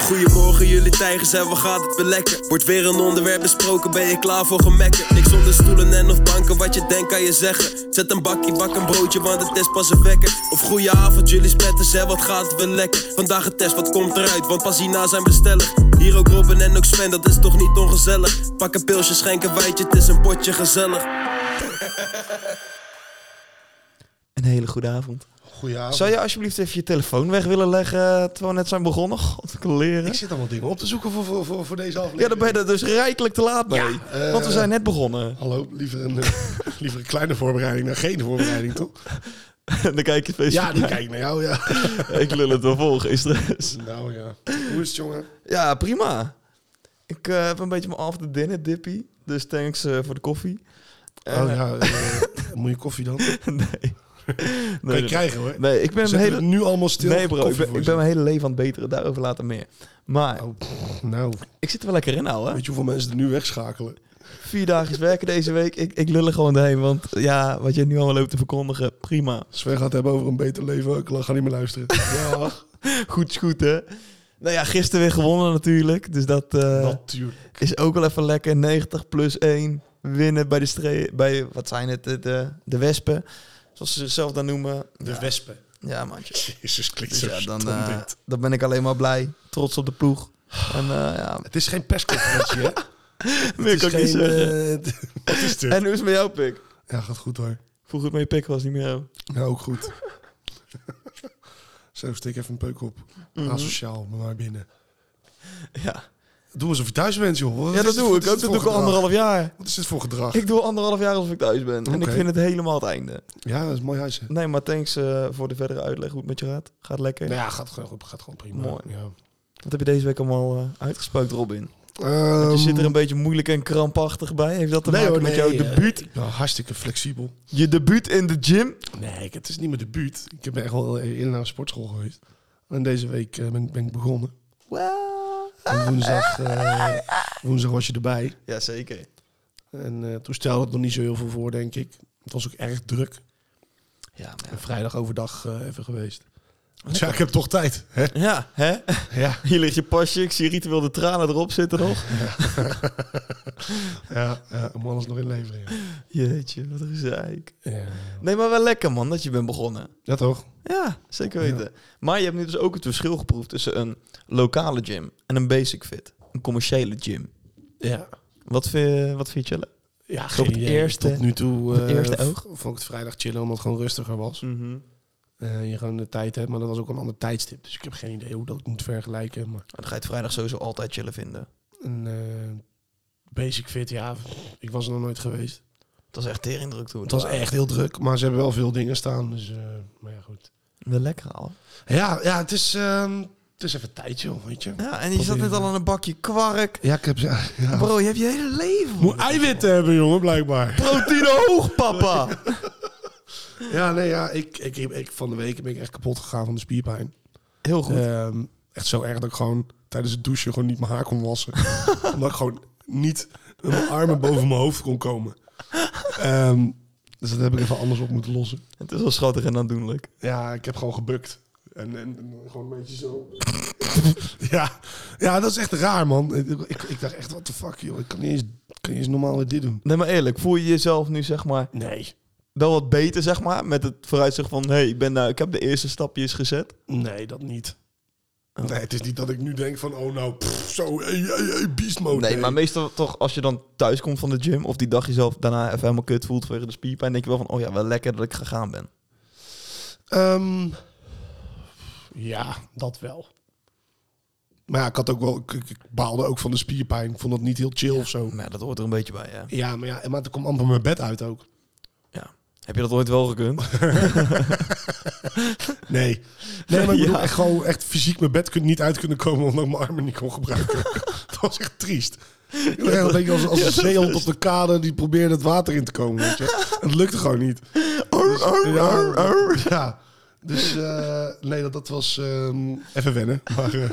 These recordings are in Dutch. Goedemorgen jullie tijgers en wat gaat het weer lekker Wordt weer een onderwerp besproken, ben je klaar voor gemekken Niks onder stoelen en of banken, wat je denkt kan je zeggen Zet een bakje, bak een broodje, want het is pas een wekker Of goeie avond jullie spetters en wat gaat het weer lekker Vandaag een test, wat komt eruit, want pas hierna zijn bestellig Hier ook Robin en ook Sven, dat is toch niet ongezellig Pak een pilsje, schenk een wijntje, het is een potje gezellig Een hele goede avond. Goedenavond. Zou je alsjeblieft even je telefoon weg willen leggen eh, terwijl we net zijn begonnen? God, Ik leren. zit allemaal dingen op te zoeken voor, voor, voor, voor deze aflevering. Ja, dan ben je er dus rijkelijk te laat mee. eh, want we zijn net begonnen. Hallo, liever een, eh, liever een kleine voorbereiding dan geen voorbereiding, toch? En dan kijk je feest. Ja, die kijk naar jou, ja. Ik lul het wel vol gisteren. nou ja. Hoe is het, jongen? Ja, prima. Ik eh, heb een beetje mijn after dinner dippie. Dus thanks eh, voor de koffie. Oh ja, eh, moet je koffie dan? Kan nee. nee. je nee. krijgen, hoor. Nee, ik ben mijn Zitten we hele... het nu allemaal stil. Nee bro, ik Koffie ben, ik voor ben mijn hele leven aan het beteren. Daarover later meer. Maar je. Oh, pff, nou, ik zit er wel lekker in nou, hè? weet je hoeveel mensen er nu wegschakelen? Vier dagjes werken deze week. Ik, ik lul er gewoon doorheen. Want ja, wat je nu allemaal loopt te verkondigen, prima. Sven gaat het hebben over een beter leven. Ik ga niet meer luisteren. Ja, Goed is goed, hè? Nou ja, gisteren weer gewonnen natuurlijk. Dus dat eh, natuurlijk. is ook wel even lekker. 90 plus 1 winnen bij de stre bij wat zijn het, de, de, de wespen. Zoals ze zichzelf dan noemen. De wespen. Ja, mandje. Jezus, klinkt Dus zo ja, dan, stom eh, dit. dan ben ik alleen maar blij. Trots op de ploeg. En eh ja, Het is geen persconferentie, hè? Het meer is kan ik niet geen, zeggen. eh, Wat is dit? En hoe is het met jouw pik? Ja, gaat goed hoor. Vroeger het met je pik was niet meer jou. Ja, ook goed. Zo, steek even een peuk op. Asociaal, maar maar binnen. Ja, Doe alsof je thuis bent, joh. Wat ja is dat dit- doe wat ik is ook. Dat dit doe ik voor al gedrag? anderhalf jaar. Wat is dit voor gedrag? Ik doe anderhalf jaar alsof ik thuis ben. En ik Oké. vind het helemaal het einde. Ja, dat is mooi huis, hè? Nee, maar thanks eh, voor de verdere uitleg hoe het met je gaat. Gaat lekker. Nou ja, gaat gewoon, goed, gaat gewoon prima. Mooi. Ja. Wat heb je deze week allemaal eh uitgespookt, Robin? Ehm, je zit er een beetje moeilijk en krampachtig bij. Heeft dat te nee, maken hoor, met nee, jouw eh, debuut? ik ben hartstikke flexibel. Je debuut in de gym? Nee, ik- het is niet mijn debuut. Ik ben echt wel eh, eerder naar een sportschool geweest. En deze week eh, ben, ben ik begonnen. En woensdag, eh, woensdag was je erbij. Ja, zeker. En eh, toen stelde het nog niet zo heel veel voor, denk ik. Het was ook erg druk. Ja, En vrijdag overdag eh, even geweest. Dus ja, ik heb toch tijd. Hè? ja hè? Ja. Hier ligt je pasje. Ik zie ritueel de tranen erop zitten nog. Ja, ja, om alles nog in leven. Ja. Jeetje, wat een gezeik. Ja. Nee, maar wel lekker, man, dat je bent begonnen. ja, toch? Ja, zeker weten. Maar je hebt nu dus ook het verschil geproefd tussen een lokale gym en een basic fit. Een commerciële gym. Ja. Wat vind, wat vind je chillen? Ja, Op het eerste- Tot nu toe op het eh, eerste v- oog. vond ik het vrijdag chillen omdat het gewoon rustiger was. Mhm. Eh, je gewoon de tijd hebt, maar dat was ook een ander tijdstip. Dus ik heb geen idee hoe dat ik moet vergelijken. Maar Dan ga je het vrijdag sowieso altijd chillen vinden. een eh, basic fit, ja, ik was er nog nooit geweest. Het was echt teringdruk toen. Het was echt heel druk, maar ze hebben wel veel dingen staan. Dus, eh, maar ja, goed. Wel lekker al. Ja, ja het, is, ehm, het is even tijd, joh, weet je. Ja, en je zat net al aan een bakje kwark. Ja, ik heb... Ja, ja. Bro, je hebt je hele leven. Moet eiwitten hebben, jongen, blijkbaar. Proteïne hoog, papa. Ja, nee, ja, ik, ik, ik, ik- van de week ben ik echt kapot gegaan van de spierpijn. Heel goed. Ehm, echt zo erg dat ik gewoon tijdens het douchen gewoon niet mijn haar kon wassen. Omdat ik gewoon niet met mijn armen boven mijn hoofd kon komen. Ehm, dus dat heb ik even anders op moeten lossen. Het is wel schattig en aandoenlijk. Ja, ik heb gewoon gebukt. En, en, en gewoon een beetje zo. ja. ja, dat is echt raar, man. Ik, ik, ik dacht echt, what the fuck, joh. Ik kan niet eens, ik kan niet eens normaal weer dit doen. Nee, maar eerlijk, voel je jezelf nu zeg maar Nee. wel wat beter, zeg maar? Met het vooruitzicht van, hé, hey, ik, ben, nou, ik heb de eerste stapjes gezet. Nee, dat niet. Oh. Nee, het is niet dat ik nu denk van, oh nou, pff, zo, hey, hey, hey, beast mode. Oh, Nee, maar meestal toch, als je dan thuis komt van de gym of die dag jezelf daarna even helemaal kut voelt vanwege de spierpijn, denk je wel van, oh ja, wel lekker dat ik gegaan ben. Ehm, ja, dat wel. Maar ja, ik, had ook wel, ik, ik- ik baalde ook van de spierpijn. Ik vond dat niet heel chill of zo. Maar Nou ja, dat hoort er een beetje bij, hè? Ja, maar ja, maar er kwam amper mijn bed uit ook. Ja. Heb je dat ooit wel gekund? Nee. Nee, maar ik bedoel, Ja. echt gewoon echt fysiek mijn bed kun- niet uit kunnen komen omdat ik mijn armen niet kon gebruiken. dat was echt triest. Ik was echt een beetje als, als een zeehond op de kade die probeerde het water in te komen. Weet je. Het lukte gewoon niet. Dus, ja, ja. dus eh, nee, dat, dat was ehm, even wennen. Maar eh,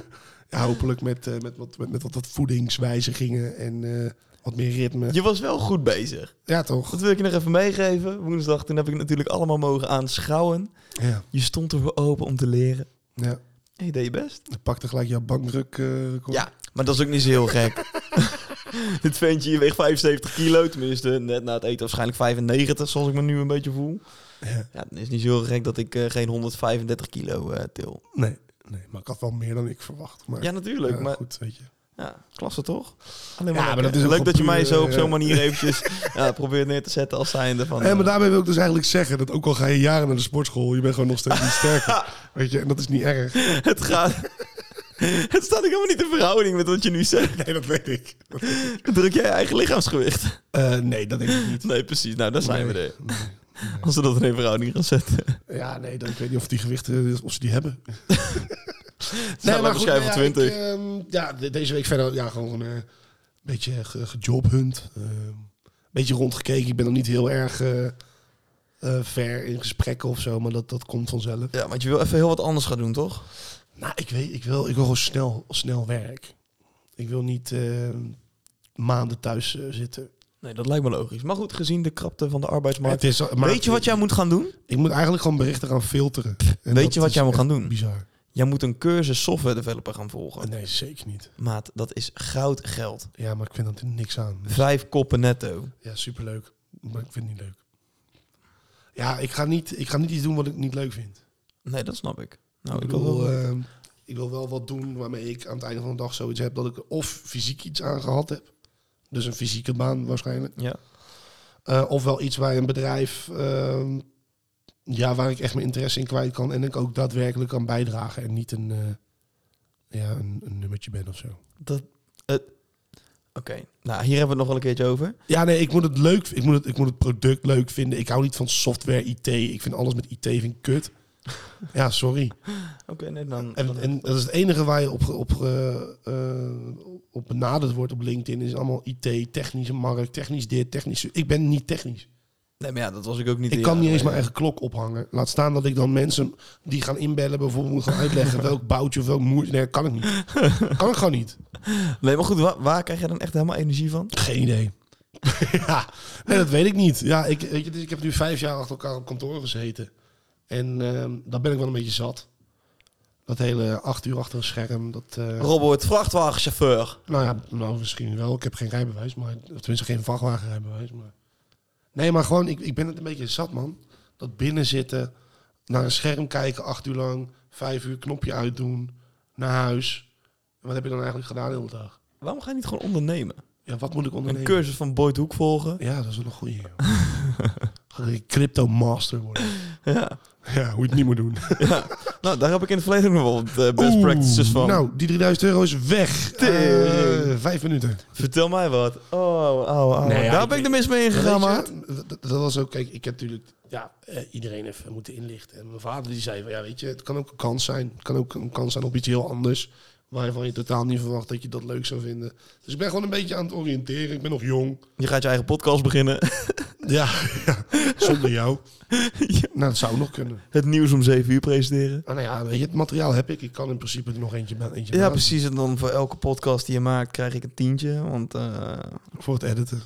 ja, hopelijk met, eh, met, wat, met, met wat, wat voedingswijzigingen en eh, wat meer ritme. Je was wel goed bezig. Ja, toch? Dat wil ik je nog even meegeven. Woensdag, toen heb ik het natuurlijk allemaal mogen aanschouwen. Ja. Je stond er voor open om te leren. ja. Hé, deed je best. Dan pakte gelijk jouw bankdruk. eh, record. Ja, maar dat is ook niet zo heel gek. Dit ventje hier weegt 75 kilo, tenminste net na het eten waarschijnlijk 95, zoals ik me nu een beetje voel. Ja, dan is het niet zo heel gek dat ik eh, geen 135 kilo eh, til. Nee, nee, maar ik had wel meer dan ik verwacht. Maar, Ja, natuurlijk, Ja, maar goed, weet je. ja, klasse toch? Alleen Ja, maar lekker. dat is ook leuk dat je gewoon mij puur, zo op eh, zo'n manier eventjes ja, probeert neer te zetten als zijnde van... Ja, eh, maar daarmee wil ik dus eigenlijk zeggen dat ook al ga je jaren naar de sportschool, je bent gewoon nog steeds niet sterker. Weet je, en dat is niet erg. het gaat... het staat ook helemaal niet in verhouding met wat je nu zegt. Nee, dat weet ik. Druk jij je eigen lichaamsgewicht? Eh, nee, dat denk ik niet. Nee, precies. Nou, daar zijn we Nee. er. Als we dat in een verhouding gaan zetten. Ja, nee, dan, ik weet niet of die gewichten, of ze die hebben. nee, laat maar schrijven nou van ja, ik, ehm, ja, de- deze week verder ja, gewoon eh, een beetje ge- gejobhunt. eh, een beetje rondgekeken. Ik ben nog niet heel erg eh, eh, ver in gesprekken of zo, maar dat, dat komt vanzelf. Ja, want je wil even heel wat anders gaan doen, toch? Nou, ik weet, ik wil, ik wil gewoon snel, snel werk. Ik wil niet eh, maanden thuis eh, zitten. Nee, dat lijkt me logisch. Maar goed, gezien de krapte van de arbeidsmarkt. is, maar weet je wat jij moet gaan doen? Ik moet eigenlijk gewoon berichten gaan filteren. En Weet dat je wat is jij moet echt gaan doen? Bizar. Jij moet een cursus software developer gaan volgen. Nee, zeker niet. Maat, dat is goud geld. Ja, maar ik vind dat niks aan. Vijf koppen netto. Ja, superleuk. Maar ik vind het niet leuk. Ja, ik ga niet, ik ga niet iets doen wat ik niet leuk vind. Nee, dat snap ik. Nou, ik, ik wil wil, wel- ehm, ik wil wel wat doen waarmee ik aan het einde van de dag zoiets heb dat ik of fysiek iets aan gehad heb. Dus een fysieke baan waarschijnlijk. Ja. Eh, ofwel iets bij een bedrijf ehm, ja, waar ik echt mijn interesse in kwijt kan. En ik ook daadwerkelijk kan bijdragen. En niet een, eh, ja, een, een nummertje ben of zo. Dat, het- Oké, nou, hier hebben we het nog wel een keertje over. Ja, nee, ik moet het leuk ik moet het, ik moet het product leuk vinden. Ik hou niet van software, IT. Ik vind alles met IT vind ik kut. Ja, sorry. Oké, nee, dan... En, en dat is het enige waar je op, ge- op, ge- eh, op benaderd wordt op LinkedIn. Is allemaal IT, technische markt, technisch dit, technisch. zo. Ik ben niet technisch. nee, maar ja, dat was ik ook niet. eh, Ik een kan jaar niet eens mijn geleden. eigen klok ophangen. Laat staan dat ik dan mensen die gaan inbellen bijvoorbeeld moet gaan uitleggen welk boutje of welk moertje. Nee, kan ik niet. Kan ik gewoon niet. Nee, maar goed, waar, waar krijg je dan echt helemaal energie van? Geen idee. ja, nee, dat weet ik niet. Ja, ik, weet je, dus ik heb nu vijf jaar achter elkaar op kantoor gezeten. En ehm daar ben ik wel een beetje zat. Dat hele acht uur achter een scherm. Dat, eh, Robert, vrachtwagenchauffeur. nou ja, nou, misschien wel. Ik heb geen rijbewijs, maar of tenminste geen vrachtwagenrijbewijs. Maar... Nee, maar gewoon, ik, ik ben het een beetje zat, man. Dat binnenzitten, naar een scherm kijken, acht uur lang, vijf uur knopje uitdoen, naar huis. Wat heb je dan eigenlijk gedaan de hele dag? Waarom ga je niet gewoon ondernemen? Ja, wat moet ik Een ondernemen? cursus van Boyd Hoek volgen? Ja, dat is wel een goeie. joh. Ga ik crypto master worden. Ja. Ja, hoe je het niet moet doen. Nou, daar heb ik in het verleden ook nog wel wat eh, best practices van. Nou, die 3000 euro is weg. Tering. Eh, vijf minuten. Vertel mij wat. Oh, oh, oh. Nee, ja, daar ik ben ik weet- er mis mee Weet je, ingegaan, maat. d- d- Dat, was ook, kijk, ik heb natuurlijk ja, eh, iedereen even moeten inlichten. En mijn vader die zei van, ja, weet je, het kan ook een kans zijn. Het kan ook een kans zijn op iets heel anders. Waarvan je totaal niet verwacht dat je dat leuk zou vinden. Dus ik ben gewoon een beetje aan het oriënteren. Ik ben nog jong. Je gaat je eigen podcast beginnen. Ja, ja. zonder jou. Nou, dat zou nog kunnen. Het nieuws om 7 uur presenteren. Ah, nou ja, weet je, het materiaal heb ik. Ik kan in principe er nog eentje, ba- eentje Ja, maken. precies. En dan voor elke podcast die je maakt krijg ik een tientje. Want eh, Voor het editen,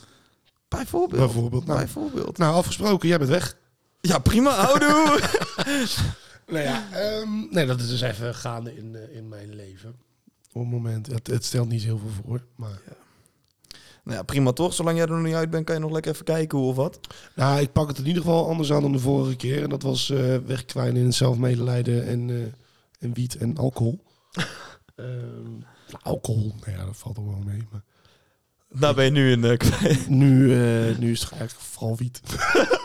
bijvoorbeeld. bijvoorbeeld. Nou, Bijvoorbeeld. nou, afgesproken, jij bent weg. Ja, prima, oudoe. Nou ja, ehm, nee, dat is dus even gaande in, eh, in mijn leven. Op het moment, het, het stelt niet heel veel voor. Maar... nou ja, prima toch? Zolang jij er nog niet uit bent, kan je nog lekker even kijken hoe of wat. Nou, ik pak het in ieder geval anders aan dan de vorige keer. En dat was eh, wegkwijnen in zelfmedelijden en, eh, en wiet en alcohol. Ehm, nou, alcohol, nou ja, dat valt er wel mee. Maar Daar ben je nu in eh, kwijt. nu, eh, nu is het eigenlijk vooral wiet.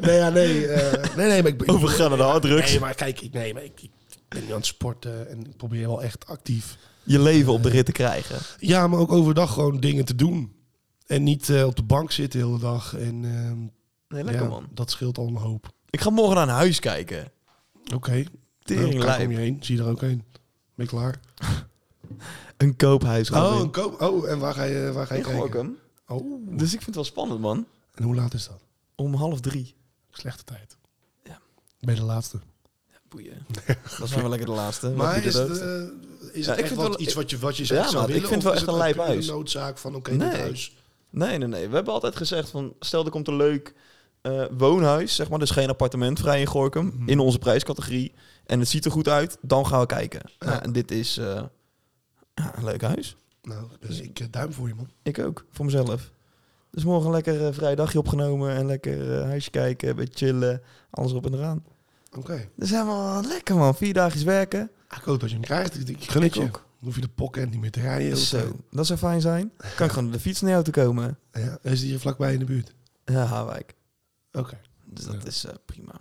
nee, ja, nee, eh, nee, nee, maar ik ben... Overgegaan naar de harddrugs. Nee, maar kijk, ik, nee, maar ik, ik ben nu aan het sporten en ik probeer wel echt actief. Je leven op de rit te krijgen. Ja, maar ook overdag gewoon dingen te doen. En niet eh, op de bank zitten de hele dag. En ehm, Nee, lekker ja, man. dat scheelt al een hoop. Ik ga morgen naar een huis kijken. Oké. Tering Nou, kijk lijp. om je heen. Zie je er ook heen. Ben je klaar? Een koophuis. Oh, Robin. een koop. Oh, en waar ga je, waar ga je in kijken? Gorkum. Oh. Dus ik vind het wel spannend, man. En hoe laat is dat? Om half drie. Slechte tijd. Ja. Ben je de laatste. Boeien. Dat zijn wel lekker de laatste. Wat Maar doet is het het, ook? eh, is Ja, het ik echt vind wat, wel- iets wat je, wat je Ja, zou maat, zou ik willen? vind het wel of echt een het lijp puur huis. noodzaak van oké, Nee. dit huis. Nee, nee, nee. We hebben altijd gezegd van... Stel, er komt een leuk eh, woonhuis, zeg maar, dus geen appartement vrij in Gorkum, in onze prijscategorie. En het ziet er goed uit, dan gaan we kijken. Nou, en dit is eh, ja, een leuk huis. Nou, dus ik eh, duim voor je, man. Ik ook, voor mezelf. Dus morgen lekker eh, vrij dagje opgenomen en lekker eh, huisje kijken, een beetje chillen, alles op en eraan. Oké. Dus helemaal lekker man, vier dagjes werken. Ik hoop dat je hem krijgt. Ik, ik gun het Ik je. ook. Dan hoef je de pokken en niet meer te rijden. eh, Zo, dat zou fijn zijn. Kan ik gewoon op de fiets naar jou te komen. Ja, is die hier vlakbij in de buurt? Ja, Haarwijk. Oké. Dus dat is eh, prima.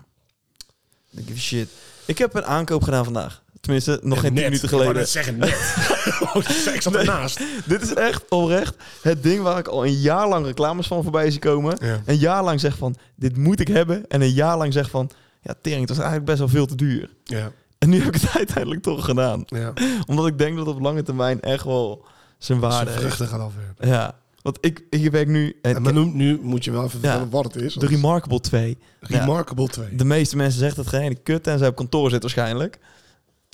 Don't give a shit. Ik heb een aankoop gedaan vandaag. Tenminste, nog geen 10 Net. minuten Ik wou geleden. net zeggen, net. Oh, ik zat ernaast. Dit is echt oprecht het ding waar ik al een jaar lang reclames van voorbij zie komen. Ja. Een jaar lang zeg van, dit moet ik hebben. En een jaar lang zeg van, ja tering, het was eigenlijk best wel veel te duur. Ja, En nu heb ik het uiteindelijk toch gedaan. ja. Omdat ik denk dat het op lange termijn echt wel zijn waarde Zijn heeft. vruchten gaan afwerpen. Ja, want ik, ik werk nu... En En maar nu, nu moet je wel even Ja. vertellen wat het is. de want- Remarkable 2. Ja. Remarkable 2. De meeste mensen zeggen dat geen ene kut en zij op kantoor zit waarschijnlijk.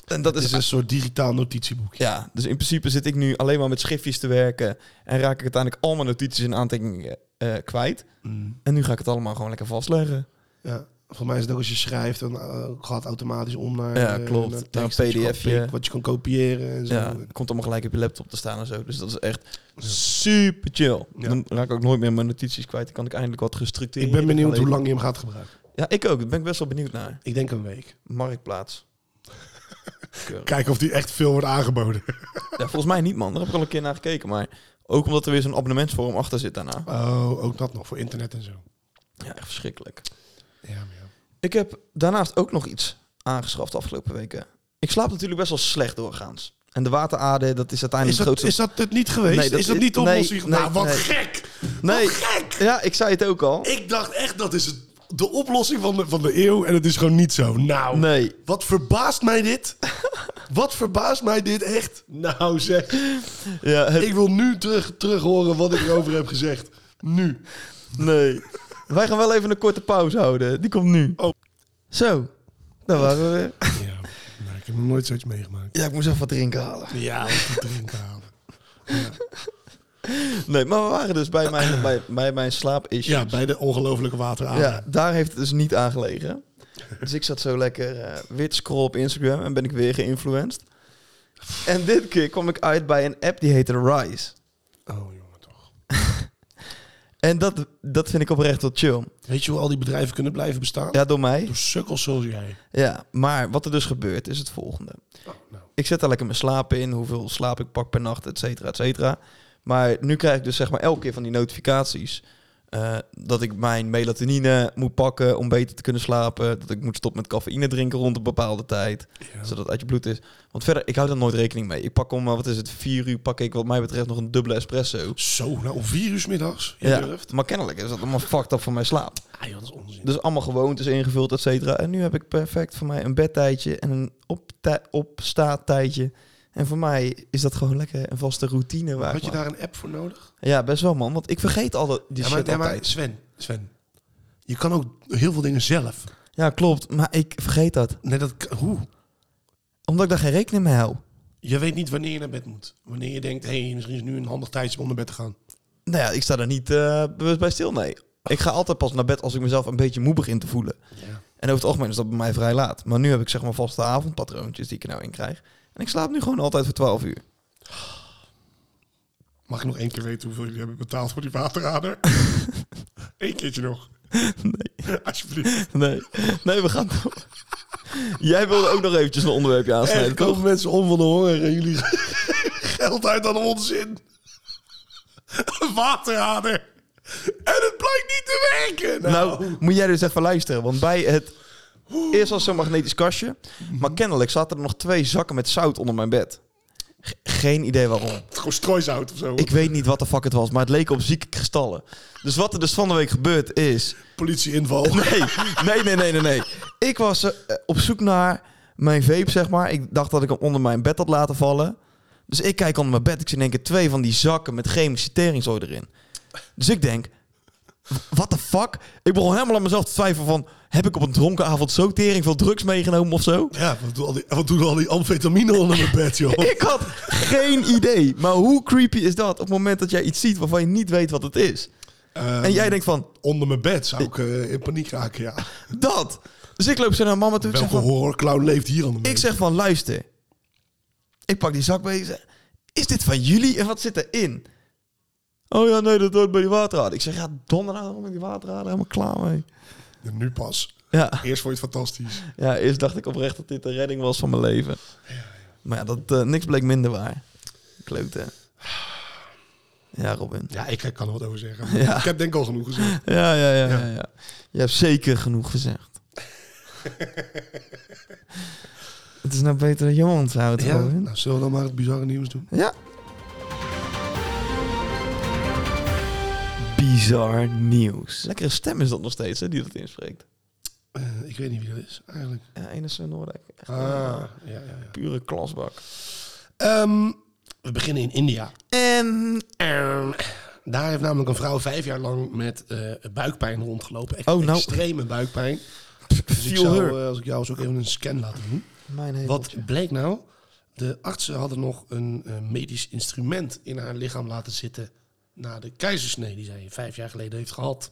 En dat Het is is een soort digitaal notitieboekje. ja, dus in principe zit ik nu alleen maar met schriftjes te werken en raak ik uiteindelijk al mijn notities en aantekeningen eh, kwijt. Mm. En nu ga ik het allemaal gewoon lekker vastleggen. Ja. Volgens mij is het ook als je schrijft, dan eh, gaat het automatisch om naar, Ja, eh, klopt. naar tekst Naar een dat je kan PDF -je. pikken, wat je kan kopiëren en zo. Ja, het Dus komt allemaal gelijk op je laptop te staan en zo. Dus dat is echt super chill. Ja. Dan raak ik ook nooit meer mijn notities kwijt. Dan kan ik eindelijk wat gestructureerd. Ik ben benieuwd hoe lang je hem gaat gebruiken. Ja, ik ook. Daar ben ik best wel benieuwd naar. Ik denk een week. Marktplaats. Keurig. Kijken of die echt veel wordt aangeboden. Ja, volgens mij niet, man. Daar heb ik al een keer naar gekeken. Maar ook omdat er weer zo'n abonnementsvorm achter zit daarna. Oh, ook dat nog, voor internet en zo. Ja, echt verschrikkelijk. Ja, maar ja. Ik heb daarnaast ook nog iets aangeschaft de afgelopen weken. Ik slaap natuurlijk best wel slecht doorgaans. En de waterader, dat is Is uiteindelijk dat, het grootste... is dat het niet geweest? Nee, dat is dat is- niet de nee, oplossing? nee, nou, wat nee. gek! Nee. Wat gek! Ja, ik zei het ook al. Ik dacht echt, dat is het, de oplossing van de, van de eeuw en het is gewoon niet zo. Nou, Nee. wat verbaast mij dit? wat verbaast mij dit echt? Nou zeg, Ja, het- ik wil nu terug, terug horen wat ik erover heb gezegd. Nu. Nee. Wij gaan wel even een korte pauze houden. Die komt nu. Oh. Zo, daar waren we weer. Ja, nou, ik heb nog nooit zoiets meegemaakt. Ja, ik moest even wat drinken halen. Ja, te drinken halen. Nee, maar we waren dus bij mijn, bij, bij mijn slaapissue. Ja, bij de ongelofelijke waterader. Ja, daar heeft het dus niet aan gelegen. Dus ik zat zo lekker eh, weer te scrollen op Instagram en ben ik weer geïnfluenced. En dit keer kwam ik uit bij een app die heette Rise. Oh jongen, toch. En dat, dat vind ik oprecht wel chill. Weet je hoe al die bedrijven kunnen blijven bestaan? Ja, door mij. Door sukkels zoals jij. Ja, maar wat er dus gebeurt is het volgende. Oh, nou. Ik zet daar lekker mijn slaap in, hoeveel slaap ik pak per nacht, et cetera, et cetera. Maar nu krijg ik dus zeg maar elke keer van die notificaties... eh, dat ik mijn melatonine moet pakken om beter te kunnen slapen. Dat ik moet stoppen met cafeïne drinken rond een bepaalde tijd. zodat het uit je bloed is. Want verder, ik hou daar nooit rekening mee. Ik pak om, eh, wat is het, vier uur pak ik wat mij betreft nog een dubbele espresso. Zo, nou om vier uur 's middags. Je Ja, durft. maar kennelijk is dat allemaal fucked up voor mijn slaap. Ah joh, dat is onzin. Dus allemaal gewoontes ingevuld, et cetera. En nu heb ik perfect voor mij een bedtijdje en een opta- opstaattijtje. En voor mij is dat gewoon lekker een vaste routine. Waar Had ik je maar- daar een app voor nodig? Ja, best wel man, want ik vergeet al dat- die Ja, maar, shit ja, maar altijd. Sven, Sven, je kan ook heel veel dingen zelf. Ja, klopt, maar ik vergeet dat. Nee, dat, k- hoe? Omdat ik daar geen rekening mee hou. Je weet niet wanneer je naar bed moet. Wanneer je denkt, hé, hey, misschien is nu een handig tijdstip om naar bed te gaan. Nou ja, ik sta daar niet eh, bewust bij stil, nee. Ik ga altijd pas naar bed als ik mezelf een beetje moe begin te voelen. Ja. En over het algemeen is dat bij mij vrij laat. Maar nu heb ik zeg maar vaste avondpatroontjes die ik er nou in krijg. En ik slaap nu gewoon altijd voor 12 uur. Mag ik nog één keer weten hoeveel jullie hebben betaald voor die waterader? Eén keertje nog. Nee. Alsjeblieft. Nee, nee we gaan door. Jij wilde ook nog eventjes een onderwerpje aansnijden, Er toch? komen mensen om van de honger en jullie geld uit aan onzin. Een waterader. En het blijkt niet te werken. Nou, moet jij dus even luisteren. Want bij het... Eerst was zo'n magnetisch kastje. Maar kennelijk zaten er nog twee zakken met zout onder mijn bed. Ge- Geen idee waarom. Gewoon strooisout of zo. Ik weet niet wat de fuck het was, maar het leek op zieke kristallen. Dus wat er dus van de week gebeurd is... Politieinval. Nee, nee, nee, nee, nee. nee. Ik was eh, op zoek naar mijn vape, zeg maar. Ik dacht dat ik hem onder mijn bed had laten vallen. Dus ik kijk onder mijn bed. Ik zie in één keer twee van die zakken met chemische teringzooi erin. Dus ik denk, what the fuck? Ik begon helemaal aan mezelf te twijfelen van... heb ik op een dronken avond zo tering veel drugs meegenomen of zo? Ja, wat doen al die, wat doen al die amfetamine onder mijn bed, joh? Ik had geen idee. Maar hoe creepy is dat op het moment dat jij iets ziet waarvan je niet weet wat het is? Eh, En jij denkt van, Onder mijn bed zou ik eh, in paniek raken, ja. dat. Dus ik loop zo naar mama toe. Ik zeg Welke van, horrorclown leeft hier aan de Ik mensen? zeg van, luister. Ik pak die zakbezen. Is dit van jullie? En wat zit erin? Oh ja, nee, dat hoort bij die waterraden. Ik zeg, ja, donderdag met die waterraden. Helemaal klaar mee. Ja, nu pas. Ja, Eerst vond je het fantastisch. ja, eerst dacht ik oprecht dat dit de redding was van mijn leven. Maar ja, dat, eh, niks bleek minder waar. Klote. Ja, Robin. Ja, ik kan er wat over zeggen. Ik heb denk ik al genoeg gezegd. Ja, ja, ja, ja, ja. Je hebt zeker genoeg gezegd. Het is nou beter dat je mond houdt, Robin. Nou, zullen we dan maar het bizarre nieuws doen? Ja. Bizar nieuws. Lekkere stem is dat nog steeds, hè, die dat inspreekt. Eh, ik weet niet wie dat is, eigenlijk. Ja, Enes Noordijk. Echt een, Ah, eh, ja, ja, ja. pure klasbak. Ehm, we beginnen in India. En... Ehm, daar heeft namelijk een vrouw vijf jaar lang met eh, buikpijn rondgelopen. Echt Oh, nou. Extreme buikpijn. Dus ik Feel zou, her. eh, als ik jou eens ook even een scan laten doen. Mijn hemeltje. Wat bleek nou? De artsen hadden nog een eh, medisch instrument in haar lichaam laten zitten na de keizersnee die zij vijf jaar geleden heeft gehad.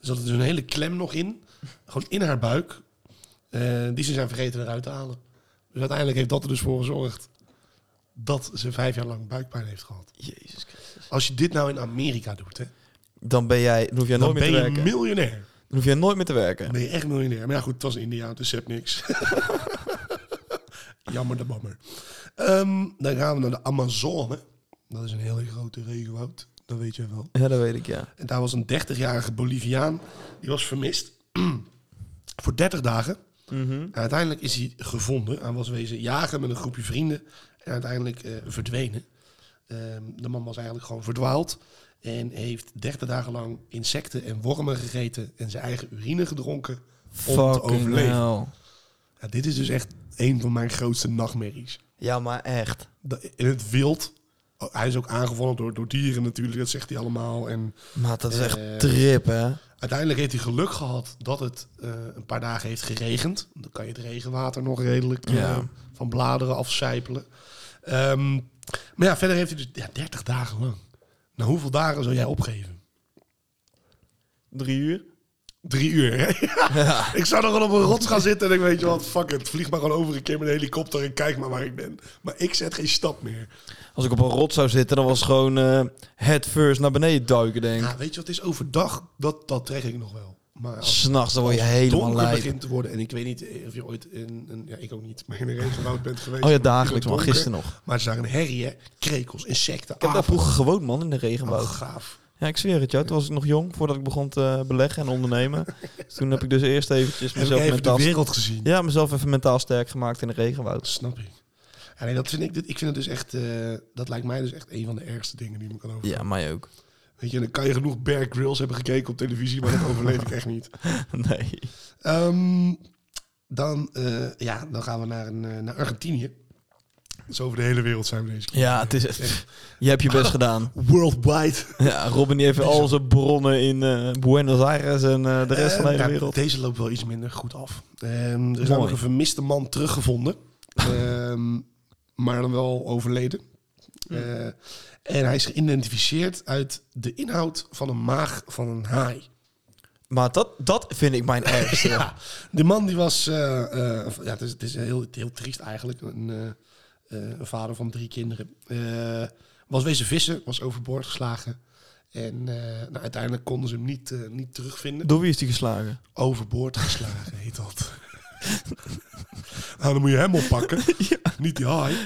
Er zat dus een hele klem nog in, gewoon in haar buik, eh, die ze zijn vergeten eruit te halen. Dus uiteindelijk heeft dat er dus voor gezorgd dat ze vijf jaar lang buikpijn heeft gehad. Jezus Christus. Als je dit nou in Amerika doet, hè, Dan ben jij... Dan hoef jij dan nooit ben meer te je werken. miljonair. Dan hoef jij nooit meer te werken. Dan ben je echt miljonair. Maar ja, goed, het was in India, dus je hebt niks. Jammer de bammer. Ehm, dan gaan we naar de Amazone. Dat is een hele grote regenwoud. Dat weet je wel. Ja, dat weet ik, ja. En daar was een 30-jarige Boliviaan. Die was vermist. voor 30 dagen. En uiteindelijk is hij gevonden. Hij was wezen jagen met een groepje vrienden. En uiteindelijk eh, verdwenen. Ehm, de man was eigenlijk gewoon verdwaald. En heeft 30 dagen lang insecten en wormen gegeten. En zijn eigen urine gedronken. Om te Fucking overleven. hell. Ja, dit is dus echt een van mijn grootste nachtmerries. Ja, maar echt. Dat- In het wild. Oh, Hij is ook aangevallen door, door dieren natuurlijk, dat zegt hij allemaal. En Maar dat is echt Eh. trip, hè. uiteindelijk heeft hij geluk gehad dat het eh, een paar dagen heeft geregend. Dan kan je het regenwater nog redelijk eh, Ja. van bladeren afcijpelen. Ehm, maar ja, verder heeft hij dus ja, 30 dagen lang. Nou, hoeveel dagen zou jij opgeven? Drie uur? Drie uur, hè? Ja. Ik zou nog wel op een rots gaan zitten en ik weet je wat, fuck het. Vlieg maar gewoon over een keer met een helikopter en kijk maar waar ik ben. Maar ik zet geen stap meer. Als ik op een rot zou zitten, dan was het gewoon eh head first naar beneden duiken, denk ik. Ja, weet je wat het is? Overdag, dat, dat trek ik nog wel. Maar als het S'nachts, dan word je helemaal donker lijp. begint te worden... en ik weet niet of je ooit in... een- ja, ik ook niet, maar in een regenwoud bent geweest. Oh ja, Het dagelijks man, donker, gisteren nog. Maar ze zagen een herrie, hè? Krekels, insecten, Ik heb daar apen. vroeger gewoond, man, in de Oh, regenwoud. gaaf. Ja, ik zweer het, jou. Toen was ik nog jong, voordat ik begon te eh, beleggen en ondernemen. Dus toen heb ik dus eerst eventjes Heb ik mezelf even de mentaal... wereld gezien. Ja, mezelf even mentaal sterk gemaakt in de regenwoud. Snap ik. Ja, nee, dat vind ik, ik vind het dus echt... eh, dat lijkt mij dus echt een van de ergste dingen die me kan overkomen. Ja, mij ook. Weet je, dan kan je genoeg Bear Grylls hebben gekeken op televisie... maar dat overleef ik echt niet. Nee. Ehm, dan, eh, ja, dan gaan we naar, een, eh, naar Argentinië. Dus over de hele wereld zijn we deze keer. Ja, het is echt... Je hebt je best gedaan. Worldwide. Ja, Robin die heeft al zijn bronnen in eh, Buenos Aires en eh, de rest van de Eh, hele nou, wereld. Deze loopt wel iets minder goed af. Ehm, er is namelijk een vermiste man teruggevonden. Ehm, maar dan wel overleden. Eh, en hij is geïdentificeerd uit de inhoud van een maag van een haai. Maar dat, dat vind ik mijn ergste. Ja, de man die was... eh, eh, ja, het is, het is heel, heel triest eigenlijk. Een, eh, eh, een vader van drie kinderen. Eh, was wezen vissen, was overboord geslagen. En eh, nou, uiteindelijk konden ze hem niet, eh, niet terugvinden. Door wie is die geslagen? Overboord geslagen heet dat. nou, dan moet je hem oppakken. Niet die haai.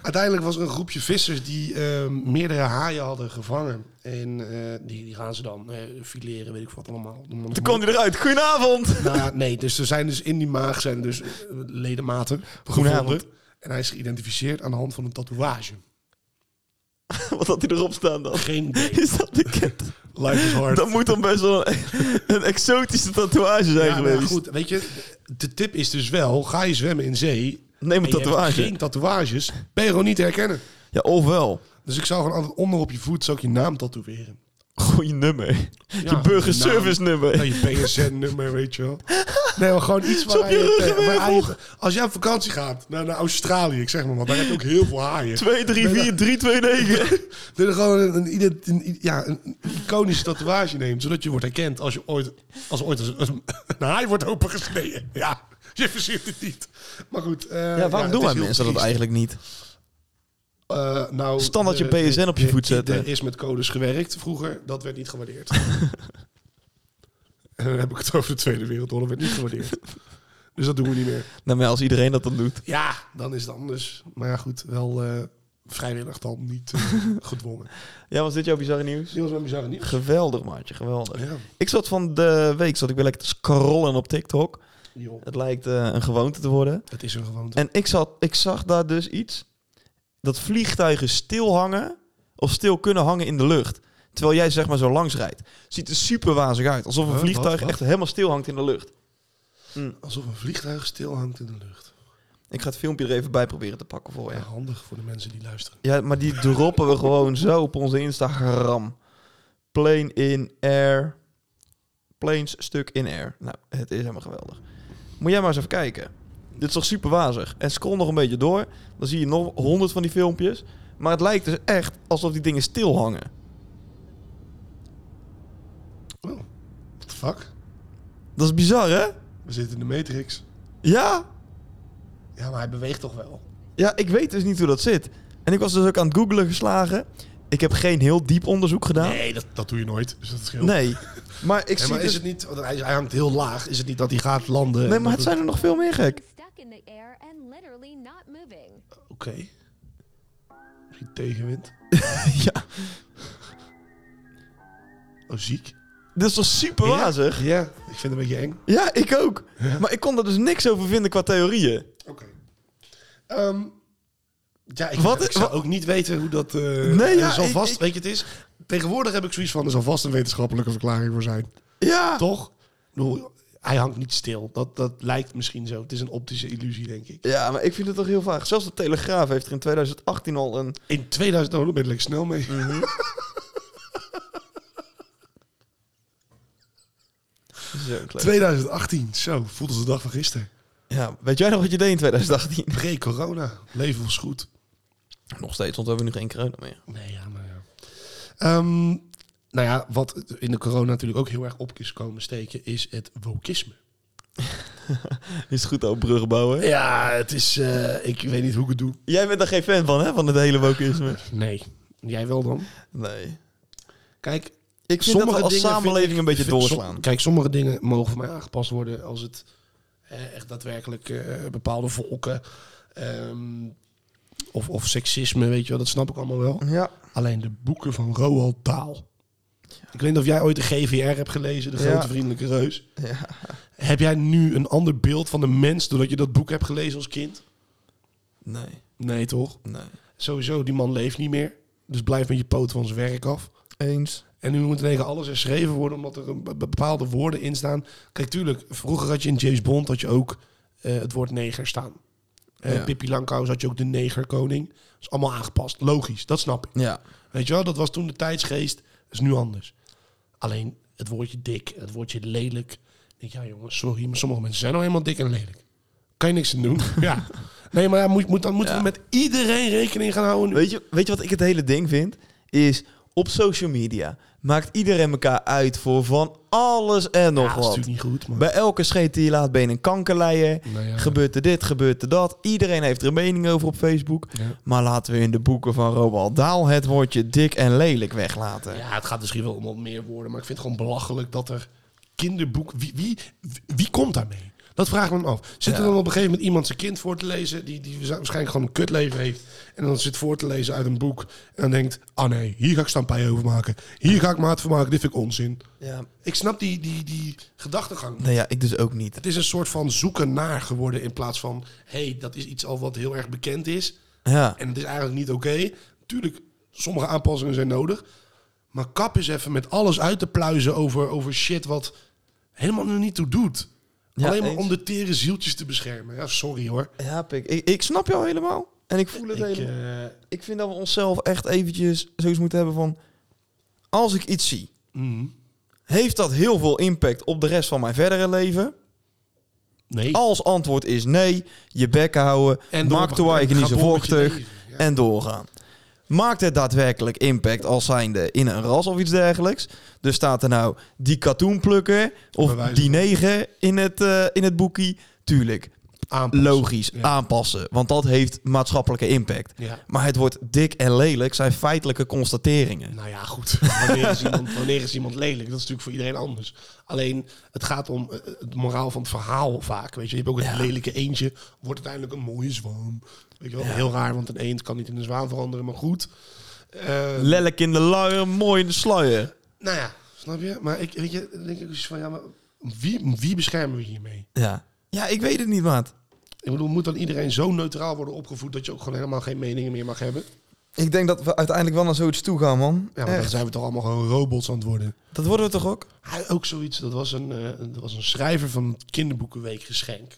Uiteindelijk was er een groepje vissers die eh, meerdere haaien hadden gevangen. En eh, die, die gaan ze dan eh, fileren, weet ik wat allemaal. Noem maar Toen nog kwam hij eruit. Goedenavond! nou, nee, dus er zijn dus in die maag zijn dus eh, ledematen Goedenavond. gevonden. En hij is geïdentificeerd aan de hand van een tatoeage. Wat had hij erop staan dan? Geen idee. Is dat bekend? Life is hard. Dat moet dan best wel een, een exotische tatoeage zijn Ja, maar geweest. goed, weet je, de tip is dus wel, ga je zwemmen in zee... Neem een en je hebt tatoeage. geen tatoeages, ben je gewoon niet te herkennen. Ja, ofwel. Dus ik zou gewoon altijd onder op je voet zou ik je naam tatoeëren. Gewoon je nummer. Ja, je burgerservice nummer. Nou, je PSN-nummer, weet je wel. Nee, maar gewoon iets Zo op waar je je... rug waar je- als jij op vakantie gaat naar, naar Australië, ik zeg maar wat, daar heb je ook heel veel haaien. 2, 3, 4, 3, 2, 9. Dat je gewoon een, een, ident- een- ja, een iconische tatoeage neemt, zodat je wordt herkend als je ooit als er ooit een, een haai wordt opengesneden. Ja, je verzint het niet. Maar goed. eh, Ja, waarom het doen is wij heel mensen dat triest. eigenlijk niet? Eh, nou, Standaard je de- PSN op je de- voet zetten. Er is met codes gewerkt vroeger, dat werd niet gewaardeerd. en dan heb ik het over de Tweede Wereldoorlog, werd niet gewaardeerd. dus dat doen we niet meer. Nou, maar als iedereen dat dan doet. Ja, dan is het anders. Maar ja, goed, wel eh, vrijwillig dan, niet eh, gedwongen. Ja, was dit jouw bizarre nieuws? Die was mijn bizarre nieuws. Geweldig, maatje, geweldig. Ja, Ik zat van de week, zat ik weer lekker te scrollen op TikTok. joh. Het lijkt eh, een gewoonte te worden. Dat is een gewoonte. En ik, zat, ik zag daar dus iets. Dat vliegtuigen stil hangen of stil kunnen hangen in de lucht. Terwijl jij zeg maar zo langs rijdt. Ziet er super wazig uit. Alsof een Huh? vliegtuig Wat? Wat? echt helemaal stil hangt in de lucht. Alsof een vliegtuig stilhangt in de lucht. Ik ga het filmpje er even bij proberen te pakken voor je. Ja, handig voor de mensen die luisteren. Ja, maar die droppen we gewoon zo op onze Instagram. Plane in air. Planes stuk in air. Nou, het is helemaal geweldig. Moet jij maar eens even kijken. Dit is toch super wazig. En scroll nog een beetje door. Dan zie je nog honderd van die filmpjes. Maar het lijkt dus echt alsof die dingen stil hangen. Oh, what the fuck? Dat is bizar, hè? We zitten in de Matrix. Ja? Ja, maar hij beweegt toch wel? Ja, ik weet dus niet hoe dat zit. En ik was dus ook aan het googlen geslagen. Ik heb geen heel diep onderzoek gedaan. Nee, dat, dat doe je nooit. Dus dat scheelt. Nee. Maar ik Ja, zie maar dus... is het niet, want hij, hij hangt heel laag. Is het niet dat hij gaat landen? Nee, maar en dat het zijn er nog veel meer gek. stuck in the air and literally not moving. Oké. Misschien tegenwind. Ja. Oh, ziek. Dit is toch super wazig? Ja, ik vind het een beetje eng. Ja, ik ook. Maar ik kon er dus niks over vinden qua theorieën. Oké. Ehm, ja, ik, Wat- ik zou wat- ook niet weten hoe dat... eh Nee, ja, er zal ik- vast, ik- weet je het is? Tegenwoordig heb ik zoiets van, er zal vast een wetenschappelijke verklaring voor zijn. Ja. Toch? Ik bedoel, hij hangt niet stil. Dat, dat lijkt misschien zo. Het is een optische illusie, denk ik. Ja, maar ik vind het toch heel vaag. Zelfs de Telegraaf heeft er in 2018 al een... In 2000... Oh, daar ben ik lekker snel mee. Zo klein. 2018. Zo, voelt als de dag van gisteren. Ja, weet jij nog wat je deed in 2018? Pre-corona. Leven was goed. Nog steeds, want we hebben nu geen corona meer. Nee, ja, maar ja. Ehm, nou ja, wat in de corona natuurlijk ook heel erg op is komen steken, is het wokisme. Is het goed over bruggen bouwen? Ja, het is... eh, ik weet niet hoe ik het doe. Jij bent daar geen fan van, hè? Van het hele wokeisme. Nee. Jij wel dan? Nee. Kijk, Ik vind dat we als dingen samenleving vind ik- een beetje vind- som- doorslaan. kijk, sommige dingen mogen voor mij aangepast worden als het eh, echt daadwerkelijk eh, bepaalde volken ehm, of, of seksisme, weet je wel, dat snap ik allemaal wel. Ja. Alleen de boeken van Roald Dahl. Ik weet niet of jij ooit de GVR hebt gelezen, de Ja. grote vriendelijke reus. Ja. Heb jij nu een ander beeld van de mens doordat je dat boek hebt gelezen als kind? Nee. Nee, toch? Nee. Sowieso, die man leeft niet meer. Dus blijf met je poot van zijn werk af. Eens. En nu moet tegen alles herschreven worden omdat er een be- bepaalde woorden in staan. Kijk, tuurlijk, vroeger had je in James Bond had je ook eh, het woord neger staan. Eh Ja. Pippi Langkous had je ook de negerkoning. Dat is allemaal aangepast. Logisch, dat snap ik. Ja. Weet je wel, dat was toen de tijdsgeest. Dat is nu anders. Alleen het woordje dik, het woordje lelijk. Ik denk, ja jongens, sorry, maar sommige mensen zijn nou helemaal dik en lelijk. Kan je niks aan doen. ja. Nee, maar ja, moet, moet, dan moeten Ja. we met iedereen rekening gaan houden. nu. Weet je, weet je wat ik het hele ding vind? Is op social media maakt iedereen elkaar uit voor van alles en nog ja, dat is wat. natuurlijk niet goed, maar... Bij elke scheet die je laat ben je een kankerleier. Nou ja. Gebeurt er dit, gebeurt er dat. Iedereen heeft er een mening over op Facebook. Ja. Maar laten we in de boeken van Roald Daal het woordje dik en lelijk weglaten. Ja, het gaat misschien wel om wat meer woorden, maar ik vind het gewoon belachelijk dat er kinderboek. Wie, wie, wie- wie komt daarmee? Dat vraag ik me af. Zit er Ja. dan op een gegeven moment iemand zijn kind voor te lezen, die, die waarschijnlijk gewoon een kutleven heeft, en dan zit voor te lezen uit een boek, en dan denkt: ah nee, hier ga ik stampij over maken, hier ga ik maat van maken, dit vind ik onzin. Ja. Ik snap die, die, die gedachtegang. Nee, ja, ik dus ook niet. Het is een soort van zoeken naar geworden in plaats van: hé, hey, dat is iets al wat heel erg bekend is. Ja. En het is eigenlijk niet oké. Tuurlijk, sommige aanpassingen zijn nodig. Maar kap eens even met alles uit te pluizen over, over shit wat helemaal er niet toe doet. Ja, Alleen maar eens. om de tere zieltjes te beschermen. Ja, sorry hoor. Ja, pik. Ik, ik snap jou helemaal. En ik voel het Ik, helemaal. eh, Ik vind dat we onszelf echt eventjes zoiets moeten hebben van... Als ik iets zie, Mm-hmm. Heeft dat heel veel impact op de rest van mijn verdere leven? Nee. Als antwoord is nee, je bek houden, En door- maak de eigen en niet ga zo door met je vochtig leven, ja. en doorgaan. Maakt het daadwerkelijk impact als zijnde in een ras of iets dergelijks? Dus staat er nou die katoen plukken of Bij wijze die van. negen in het, eh, in het boekie? Tuurlijk, Aanpassen. logisch, Ja. aanpassen. Want dat heeft maatschappelijke impact. Ja. Maar het wordt dik en lelijk zijn feitelijke constateringen. Nou ja, goed. Wanneer is, iemand, wanneer is iemand lelijk? Dat is natuurlijk voor iedereen anders. Alleen, het gaat om eh, het moraal van het verhaal vaak. Weet je, je hebt ook het lelijke eendje, wordt uiteindelijk een mooie zwaan. Weet je wel, heel raar, want een eend kan niet in een zwaan veranderen, maar goed. Eh, Lelijk in de luier, mooi in de sluier. nou ja, snap je? Maar ik, weet je, dan denk ik ook eens van, ja, maar wie, wie beschermen we hiermee? Ja. ja, ik weet het niet, maat. Ik bedoel, moet dan iedereen zo neutraal worden opgevoed dat je ook gewoon helemaal geen meningen meer mag hebben? Ik denk dat we uiteindelijk wel naar zoiets toe gaan, man. Ja, maar dan Echt. zijn we toch allemaal gewoon robots aan het worden. Dat worden we toch ook? Hij ook zoiets, dat was een, eh, dat was een schrijver van het kinderboekenweekgeschenk.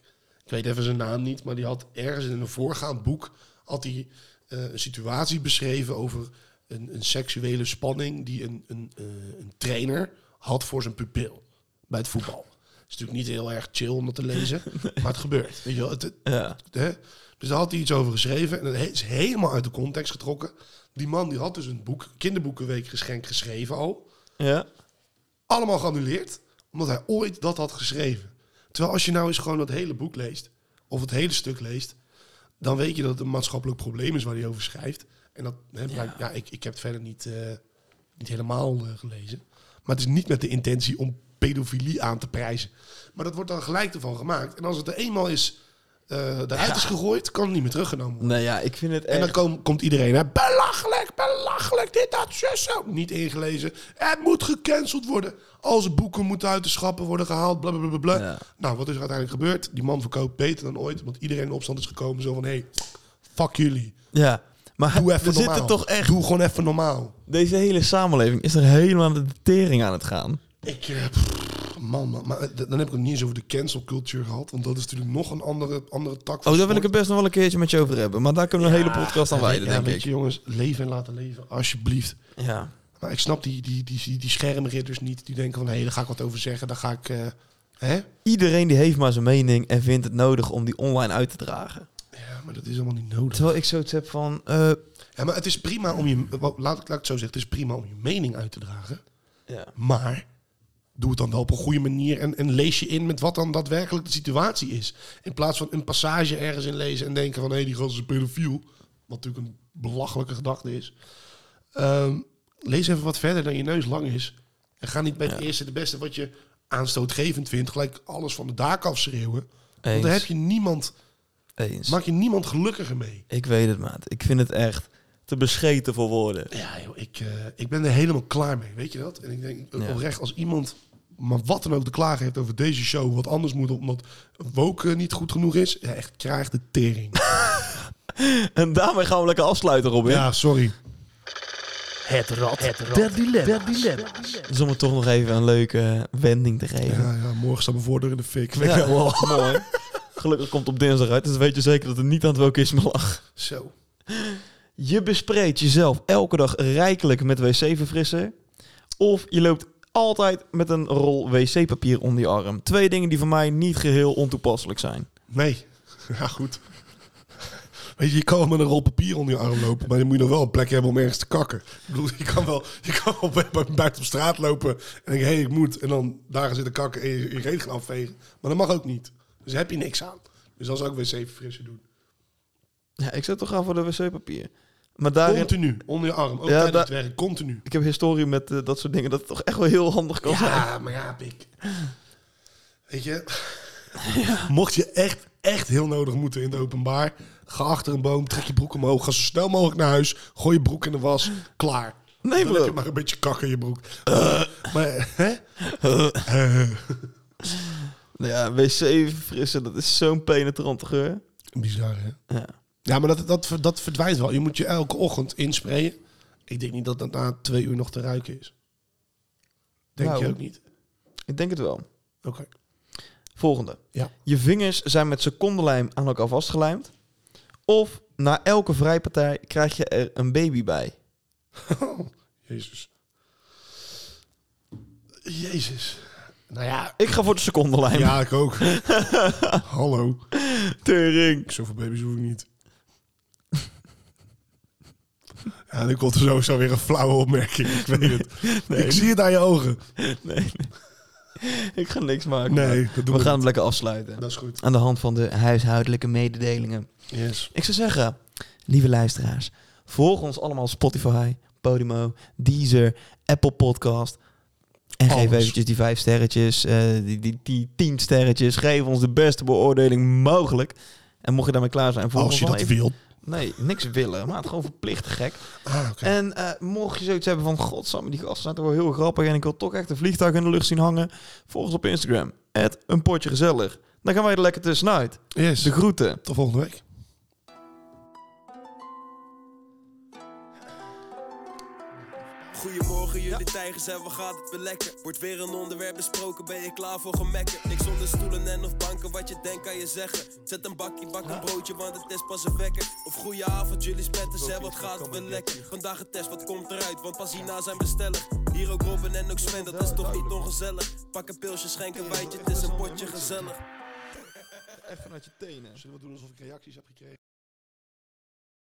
Ik weet even zijn naam niet, maar die had ergens in een voorgaand boek had hij, eh, een situatie beschreven over een, een seksuele spanning die een, een, eh, een trainer had voor zijn pupil bij het voetbal. is natuurlijk niet heel erg chill om dat te lezen, maar het gebeurt. Weet je wel, het, het- Ja. hè? Dus daar had hij iets over geschreven en dat he- is helemaal uit de context getrokken. Die man die had dus een boek, kinderboekenweekgeschenk geschreven al Ja. allemaal geannuleerd, omdat hij ooit dat had geschreven. Terwijl als je nou eens gewoon dat hele boek leest, of het hele stuk leest, dan weet je dat het een maatschappelijk probleem is waar hij over schrijft. En dat hè, blijkt- ja. ik, ik heb het verder niet, eh, niet helemaal eh, gelezen. Maar het is niet met de intentie om pedofilie aan te prijzen. Maar dat wordt dan gelijk ervan gemaakt. En als het er eenmaal is eh eruit is gegooid, kan het niet meer teruggenomen worden. Nee, ja, ik vind het echt... En dan kom- komt iedereen, hè, belachelijk, belachelijk, dit, dat, zus, zo. Niet ingelezen. Het moet gecanceld worden. Al zijn boeken moeten uit de schappen worden gehaald, bla, bla, bla, bla, bla. Ja. Nou, wat is er uiteindelijk gebeurd? Die man verkoopt beter dan ooit, want iedereen in opstand is gekomen. Zo van, hé, hey, fuck jullie. Ja. Maar Doe even we normaal. zitten toch echt... Doe gewoon even normaal. Deze hele samenleving is er helemaal aan de tering aan het gaan. Ik, eh, pff, man, man, maar eh, d- dan heb ik het niet eens over de cancel culture gehad, want dat is natuurlijk nog een andere, andere tak van Oh, daar wil ik sport. het best nog wel een keertje met je over hebben. Maar daar kunnen we een hele podcast aan wijden, Ja, denk weet ik. je jongens, leven en laten leven, alsjeblieft. Ja. Maar ik snap die, die, die, die, die schermridders niet. Die denken van, hé, daar ga ik wat over zeggen. Daar ga ik... eh, hè? Iedereen die heeft maar zijn mening en vindt het nodig om die online uit te dragen. Ja, maar dat is allemaal niet nodig. Terwijl ik zoiets heb van... eh, Ja, maar het is prima om je... Laat, laat ik het zo zeggen. Het is prima om je mening uit te dragen. ja. Maar doe het dan wel op een goede manier. En, en lees je in met wat dan daadwerkelijk de situatie is. In plaats van een passage ergens in lezen en denken van... Hé, die gast is een pedofiel. Wat natuurlijk een belachelijke gedachte is. Ehm, lees even wat verder dan je neus lang is. En ga niet bij het eerste de beste wat je aanstootgevend vindt... gelijk alles van de daak afschreeuwen. Want Eens. daar heb je niemand, Eens. maak je niemand gelukkiger mee. Ik weet het, maat. Ik vind het echt te bescheten voor woorden. Ja, joh, ik, eh, ik ben er helemaal klaar mee, weet je dat? En ik denk Ja. oprecht, als iemand maar wat dan ook te klagen heeft over deze show... wat anders moet omdat woke eh, niet goed genoeg is... Ja, echt, krijg de tering. En daarmee gaan we lekker afsluiten, Robin. ja, sorry. Dus om het toch nog even een leuke wending te geven. Ja, ja, morgen staat mijn voordeur in de fik. Vind ik wel mooi. Gelukkig komt het op dinsdag uit, dus weet je zeker dat het niet aan het wokisme lag. Zo. Je bespreekt jezelf elke dag rijkelijk met wc-verfrisser. Of je loopt altijd met een rol wc-papier onder je arm. Twee dingen die voor mij niet geheel ontoepasselijk zijn. Nee. Ja, goed. Weet je, je kan wel met een rol papier onder je arm lopen, maar dan moet je nog wel een plek hebben om ergens te kakken. Ik bedoel, je kan wel, je kan wel bij- bij- buiten op straat lopen en denken, hé, ik moet. En dan daar gaan zitten kakken en je, je reet gaan afvegen. Maar dat mag ook niet. Dus daar heb je niks aan. Dus dat is ook wc frissen doen. Ja, ik zou toch gaan voor de wc-papier. Maar daarin... Continu, onder je arm. Ook Ja, tijdens da- het werk, continu. Ik heb historie met eh, dat soort dingen, dat het toch echt wel heel handig kan zijn. Ja, maar ja, pik. Weet je, mocht je echt, echt heel nodig moeten in het openbaar, ga achter een boom, trek je broek omhoog, ga zo snel mogelijk naar huis, gooi je broek in de was, klaar. Nee, Eh. Dan bro. heb je maar een beetje kak in je broek. Maar, hè? Ja, wc verfrissen, dat is zo'n penetrante geur. Bizar, hè? Ja. Ja, maar dat, dat, dat verdwijnt wel. Je moet je elke ochtend insprayen. Ik denk niet dat dat na twee uur nog te ruiken is. Denk Nou. je ook niet? Ik denk het wel. Oké. Volgende. Ja. Je vingers zijn met secondenlijm aan elkaar vastgelijmd. Of na elke vrijpartij krijg je er een baby bij. Jezus. Jezus. Nou ja. Ik ga voor de secondenlijn. Ja, ik ook. Hallo. Tering. Zoveel baby's hoef ik niet. Ja, nu komt er sowieso weer een flauwe opmerking. Ik weet het. Nee. Ik zie het aan je ogen. Nee. nee. Ik ga niks maken. Nee, dat doen we we gaan hem lekker afsluiten. Dat is goed. Aan de hand van de huishoudelijke mededelingen. Yes. Ik zou zeggen, lieve luisteraars, volg ons allemaal op Spotify, Podimo, Deezer, Apple Podcast. En Alles. geef eventjes die vijf sterretjes, eh, die, die, die tien sterretjes. Geef ons de beste beoordeling mogelijk. En mocht je daarmee klaar zijn, volg Als ons je dan dat even- wil. Nee, niks willen, maar het gewoon verplicht, gek. Ah, oké. En eh, mocht je zoiets hebben van, godsamme, die gasten zijn toch wel heel grappig... en ik wil toch echt een vliegtuig in de lucht zien hangen... volg ons op Instagram, at een potje gezellig. Dan gaan wij er lekker tussenuit. Yes. De groeten. Tot volgende week. Goedemorgen jullie tijgers en we gaat het weer lekker Wordt weer een onderwerp besproken, ben je klaar voor gemekken Niks onder stoelen en of banken, wat je denkt kan je zeggen Zet een bakje, bak een broodje, want het is pas een wekker Of goeie avond jullie spetters en wat gaat het weer lekker Vandaag een test, wat komt eruit, want pas hierna zijn we stellig Hier ook Robin en ook Sven, dat is toch niet ongezellig Pak een pilsje, schenk een wijntje, het is een potje gezellig Even uit je tenen. Zullen we doen alsof ik reacties heb gekregen?